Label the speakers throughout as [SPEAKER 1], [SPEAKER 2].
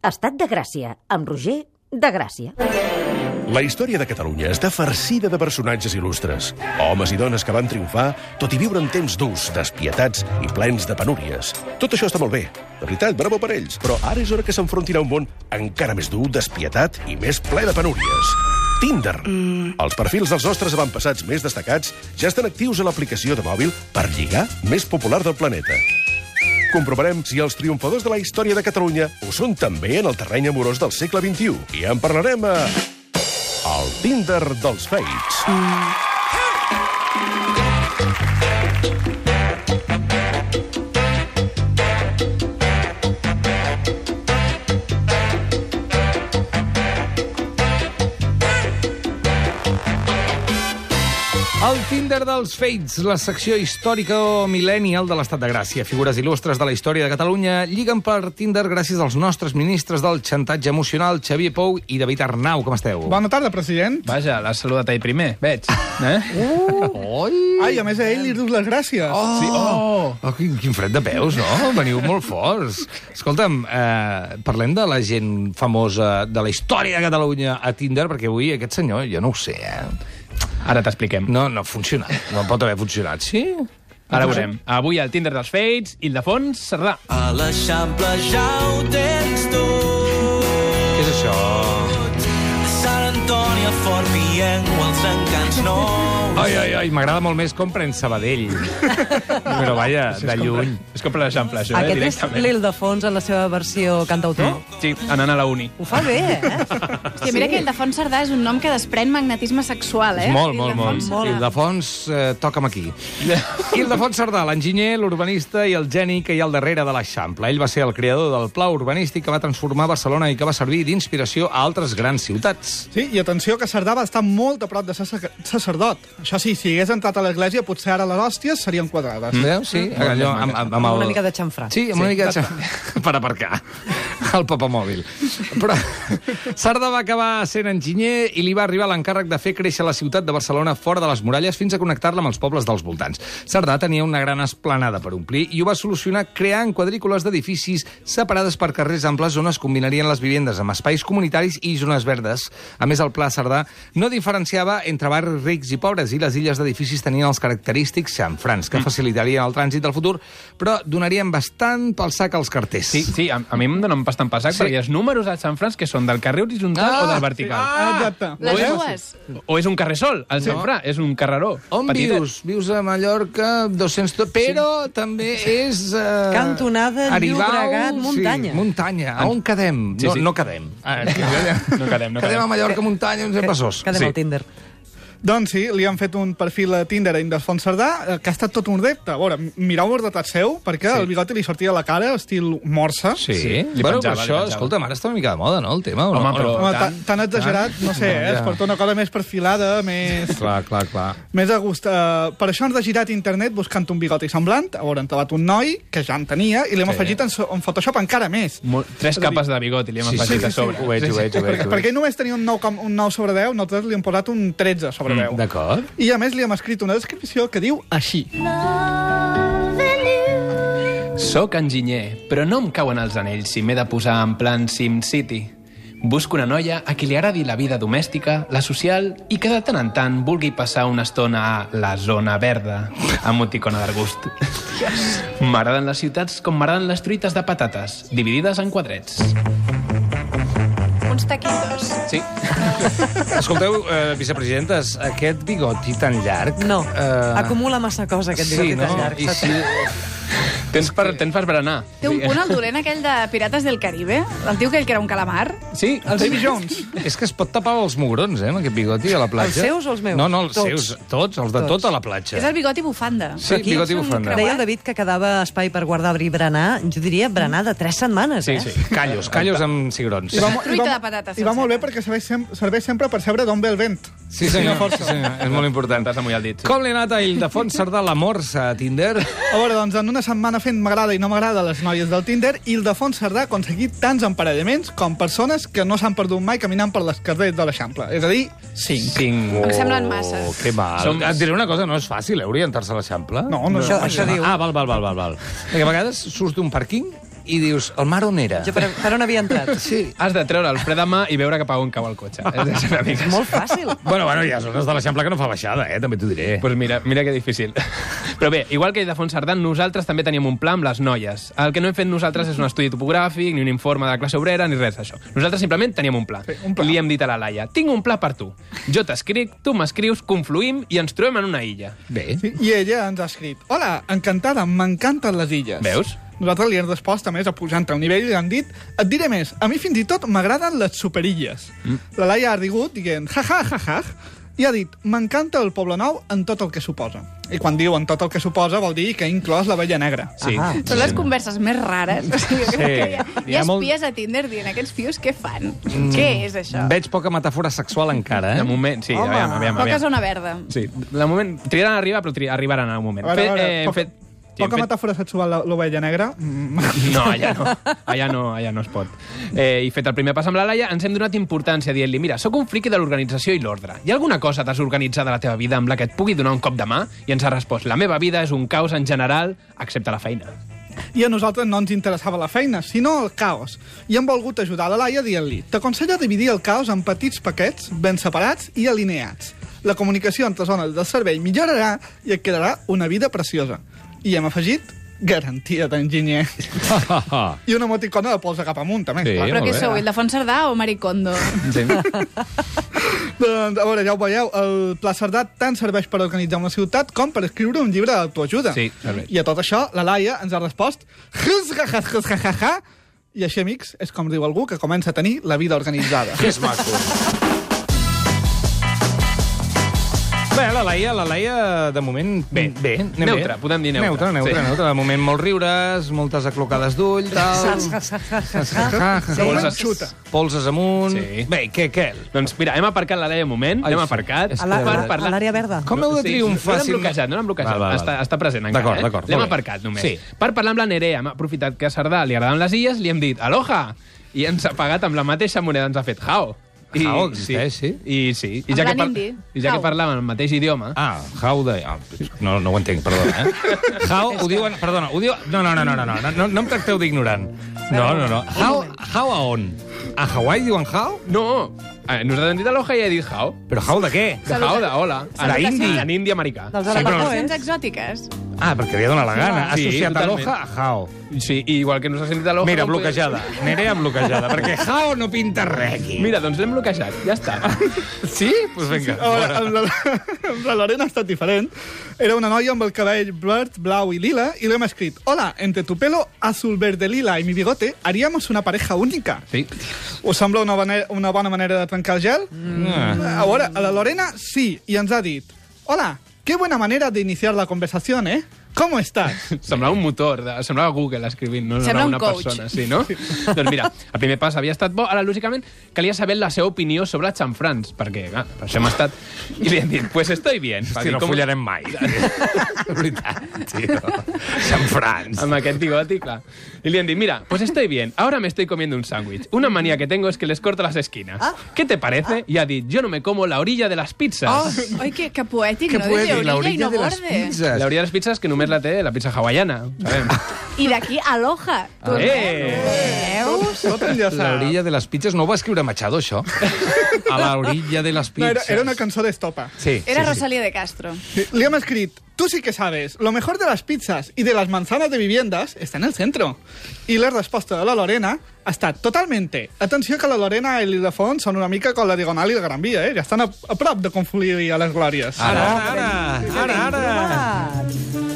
[SPEAKER 1] Estat de Gràcia, amb Roger de Gràcia.
[SPEAKER 2] La història de Catalunya està farcida de personatges il·lustres. Homes i dones que van triomfar, tot i viure en temps durs, despietats i plens de penúries. Tot això està molt bé. De veritat, bravo per ells. Però ara és hora que s'enfrontin a un món encara més dur, despietat i més ple de penúries. Tinder. Mm. Els perfils dels nostres avantpassats més destacats ja estan actius a l'aplicació de mòbil per lligar més popular del planeta. Comprovarem si els triomfadors de la història de Catalunya ho són també en el terreny amorós del segle XXI. I en parlarem a... El Tinder dels Fates.
[SPEAKER 3] El Tinder dels Fates, la secció històrica o millennial de l'Estat de Gràcia. Figures il·lustres de la història de Catalunya lliguen per Tinder gràcies als nostres ministres del xantatge emocional, Xavier Pou i David Arnau. Com esteu?
[SPEAKER 4] Bona tarda, president.
[SPEAKER 5] Vaja, l'has saludat ell primer, veig. Eh?
[SPEAKER 3] Oi!
[SPEAKER 4] Ai, a més a ell li dius les gràcies.
[SPEAKER 3] Oh, sí, oh. oh quin, quin fred de peus, no? Veniu molt forts. Escolta'm, eh, parlem de la gent famosa de la història de Catalunya a Tinder, perquè avui aquest senyor, jo no ho sé, eh?
[SPEAKER 5] Ara t'expliquem.
[SPEAKER 3] No, no ha funcionat. No pot haver funcionat, sí?
[SPEAKER 5] Ara veurem. Avui al Tinder dels Fates, Ildefons Cerdà.
[SPEAKER 6] A l'Eixample ja ho tens tot.
[SPEAKER 3] Què és això?
[SPEAKER 6] Sant Antoni a Fort Pienco, els encants nous.
[SPEAKER 3] Ai, ai, ai, m'agrada molt més com pren Sabadell. Però vaja, de lluny.
[SPEAKER 5] És com per l'exemple, això, eh?
[SPEAKER 7] Aquest és
[SPEAKER 5] directament. Mm.
[SPEAKER 7] l'Ildefons en la seva versió cantautor.
[SPEAKER 5] Sí, anant a la uni.
[SPEAKER 7] Ho fa bé, eh?
[SPEAKER 8] Hòstia, mira que Ildefons Cerdà és un nom que desprèn magnetisme sexual, eh?
[SPEAKER 3] És molt, molt, molt.
[SPEAKER 8] Ildefons Cerdà.
[SPEAKER 3] Ildefons, eh, toca'm aquí. Ildefons Cerdà, l'enginyer, l'urbanista i el geni que hi ha al darrere de l'Eixample. Ell va ser el creador del pla urbanístic que va transformar Barcelona i que va servir d'inspiració a altres grans ciutats.
[SPEAKER 4] Sí, i atenció que Cerdà va estar molt a prop de ser sac- sacerdot. Això sí, si hagués entrat a l'església, potser ara les hòsties serien quadrades. Mm.
[SPEAKER 3] Veus? Ah, Sí, Mm-hmm. allò, amb, amb, amb el...
[SPEAKER 7] Una mica de xamfrà.
[SPEAKER 3] Sí, amb una mica de xamfrà. per aparcar el papamòbil. Però Sarda va acabar sent enginyer i li va arribar l'encàrrec de fer créixer la ciutat de Barcelona fora de les muralles fins a connectar-la amb els pobles dels voltants. Sardà tenia una gran esplanada per omplir i ho va solucionar creant quadrícules d'edificis separades per carrers amples on es combinarien les vivendes amb espais comunitaris i zones verdes. A més, el Pla Cerdà no diferenciava entre barris rics i pobres i les illes d'edificis tenien els característics xamfrans,
[SPEAKER 5] Mm.
[SPEAKER 3] que facilitarien el trànsit del futur, però donarien bastant pel sac als carters.
[SPEAKER 5] Sí, sí, a, a mi em dona un bastant passat,
[SPEAKER 3] Sí.
[SPEAKER 5] sí. perquè hi ha els números al Sant Frans que són del carrer horitzontal
[SPEAKER 3] Ah,
[SPEAKER 5] o del
[SPEAKER 3] sí.
[SPEAKER 5] vertical.
[SPEAKER 3] Ah!
[SPEAKER 4] Exacte.
[SPEAKER 8] Les
[SPEAKER 5] Ho és?
[SPEAKER 8] dues.
[SPEAKER 5] O és un carrer sol, el Sant Frans, és un carreró.
[SPEAKER 3] On
[SPEAKER 5] petitet.
[SPEAKER 3] vius? Vius a Mallorca, 200... Però també és... Eh,
[SPEAKER 7] Cantonada Llobregat, muntanya.
[SPEAKER 3] Sí, muntanya. A on quedem?
[SPEAKER 5] Sí,
[SPEAKER 3] no,
[SPEAKER 5] sí.
[SPEAKER 3] no quedem. Ah,
[SPEAKER 5] No quedem, no
[SPEAKER 3] quedem a
[SPEAKER 5] quedem.
[SPEAKER 3] Mallorca, muntanya, uns passos.
[SPEAKER 7] Quedem sí. al Tinder.
[SPEAKER 4] Doncs sí, li han fet un perfil a Tinder a Ildefons Cerdà, eh, que ha estat tot un repte. A veure, mireu el retrat seu, perquè sí. el bigoti li sortia a la cara, estil morsa.
[SPEAKER 3] Sí, sí.
[SPEAKER 5] Sí, li
[SPEAKER 3] Bueno, però
[SPEAKER 5] penjava, li
[SPEAKER 3] això,
[SPEAKER 5] penjava.
[SPEAKER 3] escolta'm, ara està una mica de moda, no, el tema? o no? O
[SPEAKER 5] Home,
[SPEAKER 3] no?
[SPEAKER 5] però-
[SPEAKER 4] Home,
[SPEAKER 5] tant,
[SPEAKER 4] tan, tan exagerat, no sé, eh?
[SPEAKER 3] ja.
[SPEAKER 4] Es porta una cosa més perfilada, més...
[SPEAKER 3] Clar, clar, clar.
[SPEAKER 4] Més a gust. Uh, per això ens ha girat internet buscant un bigoti semblant. A veure, hem trobat un noi que ja en tenia i l'hem sí. afegit en, so- en Photoshop encara més.
[SPEAKER 5] Mo- Tres capes de bigot i li hem
[SPEAKER 3] Sí, sí,
[SPEAKER 5] afegit
[SPEAKER 3] sí,
[SPEAKER 5] a sobre.
[SPEAKER 3] Ho veig, ho veig, ho veig.
[SPEAKER 4] Perquè,
[SPEAKER 3] ho
[SPEAKER 4] perquè
[SPEAKER 3] veig.
[SPEAKER 4] ell només tenia un 9, com, un 9 sobre 10, nosaltres li hem posat un 13 sobre 10.
[SPEAKER 3] Mm, D'acord.
[SPEAKER 4] I a més li hem escrit una descripció que diu així.
[SPEAKER 5] Soc enginyer, però no em cauen els anells si m'he de posar en plan Sim City. Busco una noia a qui li agradi la vida domèstica, la social i que de tant en tant vulgui passar una estona a la zona verda, amb emoticona d'argust. M'agraden les ciutats com m'agraden les truites de patates, dividides en quadrets.
[SPEAKER 8] Uns taquitos.
[SPEAKER 5] Sí,
[SPEAKER 3] Escolteu, eh, vicepresidentes, aquest bigoti tan llarg...
[SPEAKER 7] No,
[SPEAKER 3] eh,
[SPEAKER 7] acumula massa cosa aquest bigoti
[SPEAKER 3] sí, no?
[SPEAKER 7] tan llarg.
[SPEAKER 3] I si...
[SPEAKER 5] tens per, tens per berenar.
[SPEAKER 8] Té un punt el dolent aquell de Pirates del Caribe? El tio aquell que era un calamar?
[SPEAKER 5] Sí, els...
[SPEAKER 4] Davy Jones.
[SPEAKER 3] És que es pot tapar els mugrons, eh, amb aquest bigoti a la platja.
[SPEAKER 7] Els seus o els meus?
[SPEAKER 3] No, no, els
[SPEAKER 7] Tots.
[SPEAKER 3] seus, tots, els de
[SPEAKER 7] Tots.
[SPEAKER 3] tota la platja.
[SPEAKER 8] És el bigoti bufanda.
[SPEAKER 3] Sí, bigoti
[SPEAKER 8] és un
[SPEAKER 3] bufanda.
[SPEAKER 8] creuat.
[SPEAKER 7] Deia el David que quedava espai per guardar i berenar, jo diria berenar de tres setmanes,
[SPEAKER 5] Sí,
[SPEAKER 7] eh?
[SPEAKER 5] sí.
[SPEAKER 3] Callos, callos amb cigrons.
[SPEAKER 4] mo-
[SPEAKER 8] Truita de patates
[SPEAKER 4] I va
[SPEAKER 8] sencera.
[SPEAKER 4] molt bé perquè serveix, sem serveix sempre per saber d'on ve el vent.
[SPEAKER 3] Sí, senyor, sí, senyor. és molt important.
[SPEAKER 5] T'has d'amullar el dit.
[SPEAKER 3] Com li ha anat a Ildefons Cerdà la morsa a Tinder?
[SPEAKER 4] A veure, doncs, en una setmana fent m'agrada i no m'agrada les noies del Tinder, Ildefons Cerdà ha aconseguit tants emparellaments com persones que no s'han perdut mai caminant per les carrers de l'Eixample. És a dir, 5.
[SPEAKER 5] Cinc.
[SPEAKER 8] Em semblen masses.
[SPEAKER 3] Oh, que mal. Som...
[SPEAKER 5] Som-
[SPEAKER 3] Et diré una cosa, no és fàcil, eh, orientar-se a l'Eixample?
[SPEAKER 4] No, no,
[SPEAKER 7] Això,
[SPEAKER 4] no.
[SPEAKER 7] això diu.
[SPEAKER 3] Ah, val, val, val, val, val. Perquè a vegades surts d'un pàrquing i dius, el mar on era?
[SPEAKER 7] Jo per, per on havia entrat?
[SPEAKER 3] Sí.
[SPEAKER 5] Has de treure el fre de mà i veure cap a on cau el cotxe. És de ser una mica...
[SPEAKER 7] Molt fàcil.
[SPEAKER 3] Bueno, bueno, hi ha zones de l'Eixample que no fa baixada, eh? també t'ho diré.
[SPEAKER 5] Doncs Pues mira, mira que difícil. Però bé, igual que Idafons Sardà, nosaltres també teníem un pla amb les noies. El que no hem fet nosaltres és un estudi topogràfic, ni un informe de la classe obrera, ni res d'això. Nosaltres simplement teníem un pla.
[SPEAKER 4] Sí, un pla.
[SPEAKER 5] Li hem dit a la Laia, tinc un pla per tu. Jo t'escric, tu m'escrius, confluïm i ens trobem en una illa.
[SPEAKER 3] Bé.
[SPEAKER 4] Sí, I ella ens ha escrit Hola, encantada, m'encanten les illes.
[SPEAKER 5] Veus?
[SPEAKER 4] Nosaltres li hem respost, a més, apujant a un nivell, i li hem dit Et diré més, a mi fins i tot m'agraden les superilles. Mm. La Laia ha rigut dient ja, ja, ja, ja, i ha dit m'encanta el Poble Nou en tot el que suposa. I quan diu en tot el que suposa vol dir que ha inclòs la vella negra.
[SPEAKER 5] Sí.
[SPEAKER 7] Ah,
[SPEAKER 8] Són les converses més rares. O sigui, sí. hi ha,
[SPEAKER 3] Hi
[SPEAKER 8] hi
[SPEAKER 3] ha
[SPEAKER 8] ha
[SPEAKER 3] molt-
[SPEAKER 8] espies a Tinder dient aquests tios què fan? Mm. Què és això?
[SPEAKER 3] Veig poca metàfora sexual encara,
[SPEAKER 5] De
[SPEAKER 3] eh?
[SPEAKER 5] moment, sí, Home, aviam, aviam,
[SPEAKER 8] Poca
[SPEAKER 5] aviam.
[SPEAKER 8] zona verda.
[SPEAKER 5] Sí, de moment, trigaran a arribar, però tri... arribaran en un moment.
[SPEAKER 4] A veure, a veure,
[SPEAKER 5] Fe- hem
[SPEAKER 4] poca,
[SPEAKER 5] fet... sí, hem
[SPEAKER 4] poca
[SPEAKER 5] fet-
[SPEAKER 4] metàfora sexual la- l'ovella negra. Mm.
[SPEAKER 5] No, allà no, allà no, allà no es pot. Eh, I fet el primer pas amb la Laia, ens hem donat importància dient-li, mira, sóc un friqui de l'organització i l'ordre. Hi ha alguna cosa desorganitzada a la teva vida amb la que et pugui donar un cop de mà? I ens ha respost, la meva vida és un caos en general, excepte la feina.
[SPEAKER 4] I a nosaltres no ens interessava la feina, sinó el caos. I hem volgut ajudar la Laia dient-li «T'aconsello dividir el caos en petits paquets ben separats i alineats. La comunicació entre zones del cervell millorarà i et quedarà una vida preciosa». I hem afegit «Garantia d'enginyer». I una emoticona de polsa cap amunt, també.
[SPEAKER 3] Sí.
[SPEAKER 4] clar.
[SPEAKER 8] Però
[SPEAKER 3] molt
[SPEAKER 8] què
[SPEAKER 3] bé.
[SPEAKER 8] sou, Ildefons Cerdà o Maricondo?
[SPEAKER 5] Sí.
[SPEAKER 4] Doncs, a veure, ja ho veieu, el Pla Cerdà tant serveix per organitzar una ciutat com per escriure un llibre d'autoajuda.
[SPEAKER 5] Sí, serveix.
[SPEAKER 4] I a tot això, la Laia ens ha respost "Jus, ja, ja, jus, ja, ja, ja", i així, amics, és com diu algú que comença a tenir la vida organitzada.
[SPEAKER 3] Que és maco. Bé, la Laia, la Laia, de moment... Bé, bé. anem
[SPEAKER 5] Neutra, podem dir neutra.
[SPEAKER 3] Neutra, neutra,
[SPEAKER 5] Sí.
[SPEAKER 3] neutra. De moment, molts riures, moltes aclocades d'ull, tal...
[SPEAKER 4] De moment,
[SPEAKER 5] Polses.
[SPEAKER 4] xuta.
[SPEAKER 3] Polses amunt...
[SPEAKER 5] Sí.
[SPEAKER 3] Bé, què, què?
[SPEAKER 5] doncs mira, hem aparcat la Laia un moment,
[SPEAKER 3] Ai,
[SPEAKER 5] l'hem
[SPEAKER 3] sí.
[SPEAKER 5] aparcat.
[SPEAKER 3] És
[SPEAKER 7] A la-
[SPEAKER 5] per
[SPEAKER 7] a-
[SPEAKER 5] parlar-
[SPEAKER 7] a l'àrea verda.
[SPEAKER 3] Com heu de
[SPEAKER 5] Sí,
[SPEAKER 3] triomfar?
[SPEAKER 5] No
[SPEAKER 3] si
[SPEAKER 5] l'hem bloquejat, no l'hem bloquejat.
[SPEAKER 3] Val, val, val.
[SPEAKER 5] Està, està present encara.
[SPEAKER 3] D'acord,
[SPEAKER 5] eh?
[SPEAKER 3] d'acord,
[SPEAKER 5] L'hem
[SPEAKER 3] molt bé.
[SPEAKER 5] aparcat només.
[SPEAKER 3] Sí.
[SPEAKER 5] Per parlar amb la Nerea, hem aprofitat que a Cerdà li agraden les illes, li hem dit aloha! I ens ha pagat amb la mateixa moneda, ens ha fet jao. I,
[SPEAKER 3] Jao, existeix, sí?
[SPEAKER 5] I sí. I
[SPEAKER 8] Amb
[SPEAKER 5] ja, que,
[SPEAKER 8] l'ànim dir,
[SPEAKER 5] I ja
[SPEAKER 8] jao.
[SPEAKER 5] que parlàvem el mateix idioma...
[SPEAKER 3] Ah, how de... ah, No, no ho entenc, perdona, eh? How, ho diuen... Perdona, ho diu... No, no, no, no, no, no, no, no em tracteu d'ignorant. No, no, no. How, how a on? A Hawaii diuen how?
[SPEAKER 5] No! Eh, nosaltres hem dit aloha i he dit jao.
[SPEAKER 3] Però how de què?
[SPEAKER 5] De jao, de hola.
[SPEAKER 3] A indi.
[SPEAKER 5] En indi americà.
[SPEAKER 7] Dels
[SPEAKER 3] Sí, però-
[SPEAKER 8] Sents
[SPEAKER 7] arapahoes.
[SPEAKER 8] exòtiques.
[SPEAKER 3] Ah, perquè li ha donat la gana.
[SPEAKER 5] eh? Sí,
[SPEAKER 3] Associat a
[SPEAKER 5] totalment.
[SPEAKER 3] l'hoja, a how.
[SPEAKER 5] Sí, i igual que nos ha sentit aloha...
[SPEAKER 3] Mira,
[SPEAKER 5] no podem-
[SPEAKER 3] bloquejada. Nerea bloquejada, perquè how no pinta res aquí.
[SPEAKER 5] Mira, doncs l'hem bloquejat, ja està.
[SPEAKER 3] Sí? Doncs pues vinga.
[SPEAKER 4] A veure, amb la, amb la Lorena ha estat diferent. Era una noia amb el cabell verd, blau i lila, i l'hem escrit «Hola, entre tu pelo azul, verde, lila y mi bigote, haríamos una pareja única».
[SPEAKER 5] Sí.
[SPEAKER 4] Us sembla una, bane- una bona manera de trencar el gel? Eh.
[SPEAKER 3] Mm.
[SPEAKER 4] A veure, a la Lorena sí, i ens ha dit Hola, qué buena manera de iniciar la conversación, eh? ¿Cómo estás?
[SPEAKER 5] Semblava un motor, de, semblava Google escrivint, no,
[SPEAKER 8] Sembla
[SPEAKER 5] no
[SPEAKER 8] un
[SPEAKER 5] una
[SPEAKER 8] coach.
[SPEAKER 5] persona. Sí, no? doncs mira, el primer pas havia estat bo, ara lògicament calia saber la seva opinió sobre els xanfrans, perquè clar, per això hem estat... I li hem dit, pues estoy bien. Va
[SPEAKER 3] Hosti,
[SPEAKER 5] dir,
[SPEAKER 3] no
[SPEAKER 5] "Com-
[SPEAKER 3] follarem mai. De veritat, tio. Sant Frans.
[SPEAKER 5] Amb aquest bigoti, clar. I li hem dit, mira, pues estoy bien, ahora me estoy comiendo un sándwich. Una manía que tengo es que les corto las esquinas. ¿Qué te parece? I ha dit, yo no me como la orilla de las pizzas.
[SPEAKER 8] Oh, Oi, que, que poètic,
[SPEAKER 3] Que
[SPEAKER 8] no?
[SPEAKER 3] poètic,
[SPEAKER 8] Diria
[SPEAKER 3] la
[SPEAKER 8] orilla
[SPEAKER 3] orilla
[SPEAKER 8] i no
[SPEAKER 3] de les
[SPEAKER 8] borde.
[SPEAKER 3] pizzas.
[SPEAKER 5] La orilla de las pizzas que només la té la pizza hawaiana. ho Sabem.
[SPEAKER 8] I d'aquí, aloha.
[SPEAKER 3] Ah.
[SPEAKER 8] Tu
[SPEAKER 5] Eh!
[SPEAKER 8] veus?
[SPEAKER 4] Tot
[SPEAKER 3] La
[SPEAKER 4] enllaçat.
[SPEAKER 3] orilla de les pizzas no ho va escriure Machado, això? A la orilla de les
[SPEAKER 4] No, era,
[SPEAKER 3] pizzas.
[SPEAKER 4] era una cançó d'estopa.
[SPEAKER 3] Sí,
[SPEAKER 8] Era
[SPEAKER 3] sí, sí.
[SPEAKER 8] Rosalía de Castro.
[SPEAKER 4] Le hemos escrito, tú sí que sabes, lo mejor de las pizzas y de las manzanas de viviendas está en el centro. I la resposta de la Lorena ha estat totalmente. Atenció que la Lorena i l'Ildefons són una mica com la Diagonal i el Gran Via, eh? Ja estan a, a prop de confluir a les glòries.
[SPEAKER 3] Ara, ara, ara, ara.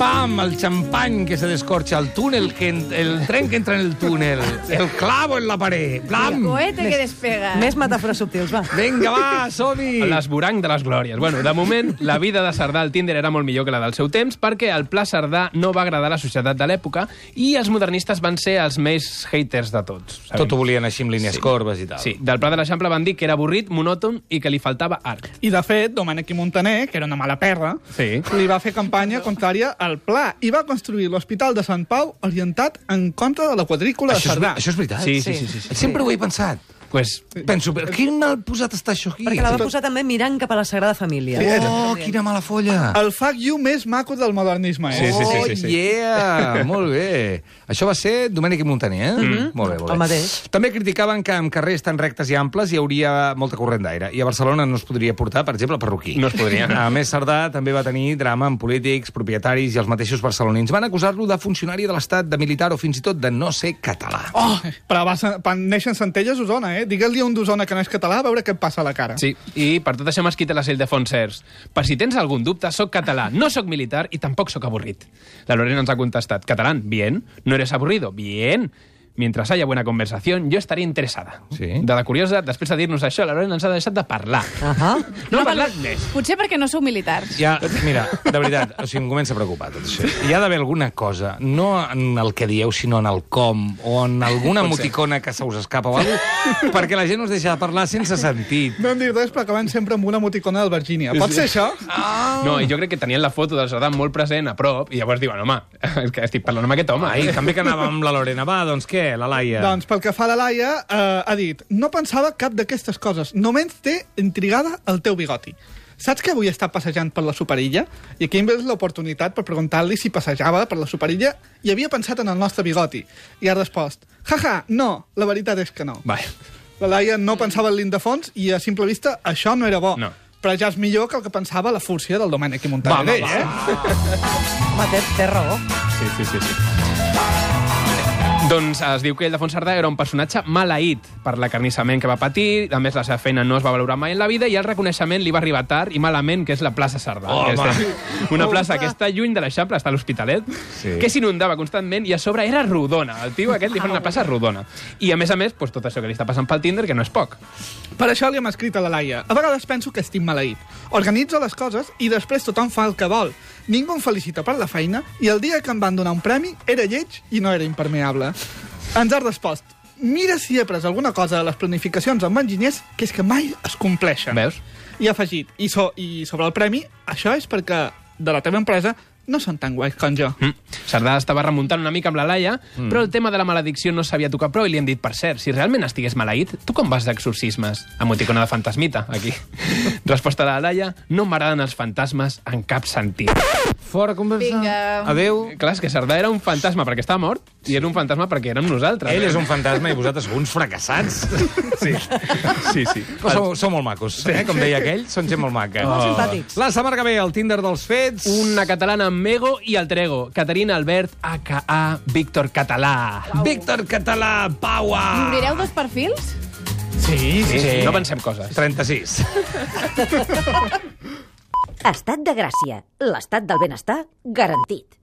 [SPEAKER 3] Pam, el champán que se descorcha, el túnel, que en- el tren que entra en el túnel, el clavo en la pared, pam.
[SPEAKER 8] Cohete que despega.
[SPEAKER 7] Més metàfores subtils, va.
[SPEAKER 3] Vinga, va, som-hi.
[SPEAKER 5] L'esvoranc de les glòries. Bueno, de moment, la vida de Cerdà al Tinder era molt millor que la del seu temps perquè el pla Cerdà no va agradar a la societat de l'època i els modernistes van ser els més haters de tots. sabem.
[SPEAKER 3] Tot ho volien així amb línies
[SPEAKER 5] Sí.
[SPEAKER 3] corbes i tal.
[SPEAKER 5] Sí, del Pla de l'Eixample van dir que era avorrit, monòton i que li faltava art.
[SPEAKER 4] I, de fet, Domènec i Montaner, que era una mala perra,
[SPEAKER 5] Sí.
[SPEAKER 4] li va fer campanya contrària al pla i va construir l'Hospital de Sant Pau orientat en contra de la quadrícula
[SPEAKER 3] Això és,
[SPEAKER 4] de Cerdà.
[SPEAKER 3] això és veritat?
[SPEAKER 5] Sí, sí, sí, sí, sí.
[SPEAKER 3] Sempre ho he pensat.
[SPEAKER 5] Pues,
[SPEAKER 3] Penso, però quin mal posat està això aquí?
[SPEAKER 7] Perquè la va posar també mirant cap a la Sagrada Família.
[SPEAKER 3] Oh, quina mala folla!
[SPEAKER 4] El fuck you més maco del modernisme.
[SPEAKER 5] Sí,
[SPEAKER 4] Eh?
[SPEAKER 5] sí, sí,
[SPEAKER 3] Oh,
[SPEAKER 5] sí, sí.
[SPEAKER 3] yeah! Molt bé. Això va ser Domènec i Montaner, eh? Mm -hmm.
[SPEAKER 5] Mm-hmm.
[SPEAKER 3] Molt bé, molt bé.
[SPEAKER 7] El mateix.
[SPEAKER 3] També criticaven que en carrers tan rectes i amples hi hauria molta corrent d'aire. I a Barcelona no es podria portar, per exemple, el perruquí.
[SPEAKER 5] No es podria.
[SPEAKER 3] A més, Cerdà també va tenir drama amb polítics, propietaris i els mateixos barcelonins. Van acusar-lo de funcionari de l'Estat, de militar o fins i tot de no ser català.
[SPEAKER 4] Oh, però va, sen- van néixer en Centelles, Osona, eh? Digues-li a un d'Osona que no és català, a veure què et passa a la cara.
[SPEAKER 5] sí. I per tot això m'has quitat la cel de Fonsers. Per si tens algun dubte, sóc català, no sóc militar i tampoc sóc avorrit. La Lorena ens ha contestat, catalán, bien, no eres aburrido, bien. Mientras haya buena conversación, yo estaré interesada.
[SPEAKER 3] Sí.
[SPEAKER 5] De la curiosa, després de dir-nos això, la Lorena ens ha deixat de parlar.
[SPEAKER 7] Ahà.
[SPEAKER 5] No ha parlat més.
[SPEAKER 8] Potser perquè no sou militars.
[SPEAKER 3] Ja, mira, de veritat, o sigui, em comença a preocupar tot això. Hi ha d'haver alguna cosa, no en el que dieu, sinó en el com, o en alguna emoticona que se us escapa o alguna cosa, perquè la gent us deixa de parlar sense sentit.
[SPEAKER 4] No en dic res, però acabem sempre amb una emoticona del Virgínia. Pot ser això?
[SPEAKER 5] No, i jo crec que tenien la foto del Saddam molt present a prop, i llavors diuen, home, és que estic parlant amb aquest home.
[SPEAKER 3] Ai, també que anava amb la Lorena. Va, doncs què, la Laia?
[SPEAKER 4] Doncs pel que fa a la Laia, eh, ha dit no pensava cap d'aquestes coses, només té intrigada el teu bigoti. Saps que avui està passejant per la superilla? I aquí em ve l'oportunitat per preguntar-li si passejava per la superilla i havia pensat en el nostre bigoti. I ha respost, jaja, no, la veritat és que no.
[SPEAKER 5] Vale.
[SPEAKER 4] La Laia no pensava en l'Indefons i a simple vista això no era bo.
[SPEAKER 5] No.
[SPEAKER 4] Però ja és millor que el que pensava la fúrcia del Domènec i Montaner. eh?
[SPEAKER 7] Home, té, té raó.
[SPEAKER 5] Sí, sí, sí, sí. Doncs es diu que el de Sardà era un personatge maleït per l'acarnissament que va patir, a més la seva feina no es va valorar mai en la vida i el reconeixement li va arribar tard i malament, que és la plaça Sardà. que és una plaça que està lluny de l'Eixample, està a l'Hospitalet,
[SPEAKER 3] Sí.
[SPEAKER 5] sí. que s'inundava constantment i a sobre era rodona. El tio aquest li fa una plaça rodona. I a més a més, doncs, tot això que li està passant pel Tinder, que no és poc.
[SPEAKER 4] Per això li hem escrit a la Laia. A vegades penso que estic maleït. Organitzo les coses i després tothom fa el que vol. Ningú em felicita per la feina i el dia que em van donar un premi era lleig i no era impermeable. Ens ha respost. Mira si he après alguna cosa de les planificacions amb enginyers que és que mai es compleixen.
[SPEAKER 5] Veus?
[SPEAKER 4] I ha afegit. I, so, I sobre el premi, això és perquè de la teva empresa no són tan guais com jo.
[SPEAKER 5] Mm. Sardà estava remuntant una mica amb la Laia, mm. però el tema de la maledicció no s'havia tocat prou i li han dit, per cert, si realment estigués maleït, tu com vas d'exorcismes? Emoticona de fantasmita, aquí. Resposta de la Laia, no m'agraden els fantasmes en cap sentit.
[SPEAKER 3] Fora conversa.
[SPEAKER 8] Vinga.
[SPEAKER 3] Adéu.
[SPEAKER 5] Clar, és que Sardà era un fantasma perquè estava mort i era un fantasma perquè érem nosaltres. eh?
[SPEAKER 3] Ell és un fantasma i vosaltres sou uns fracassats. Sí.
[SPEAKER 5] Sí, sí.
[SPEAKER 3] Però sou, sou molt macos, eh? com deia aquell. Són gent molt maca.
[SPEAKER 7] Molt simpàtics.
[SPEAKER 3] La setmana que ve, el Tinder dels fets.
[SPEAKER 5] Una catalana amb ego i alter ego. Caterina Albert, a.k.a. Víctor Català.
[SPEAKER 3] Víctor Català, Paua!
[SPEAKER 8] Obrireu dos perfils?
[SPEAKER 4] Sí,
[SPEAKER 5] Sí, sí. No pensem coses.
[SPEAKER 3] 36.
[SPEAKER 1] Estat de gràcia. L'estat del benestar garantit.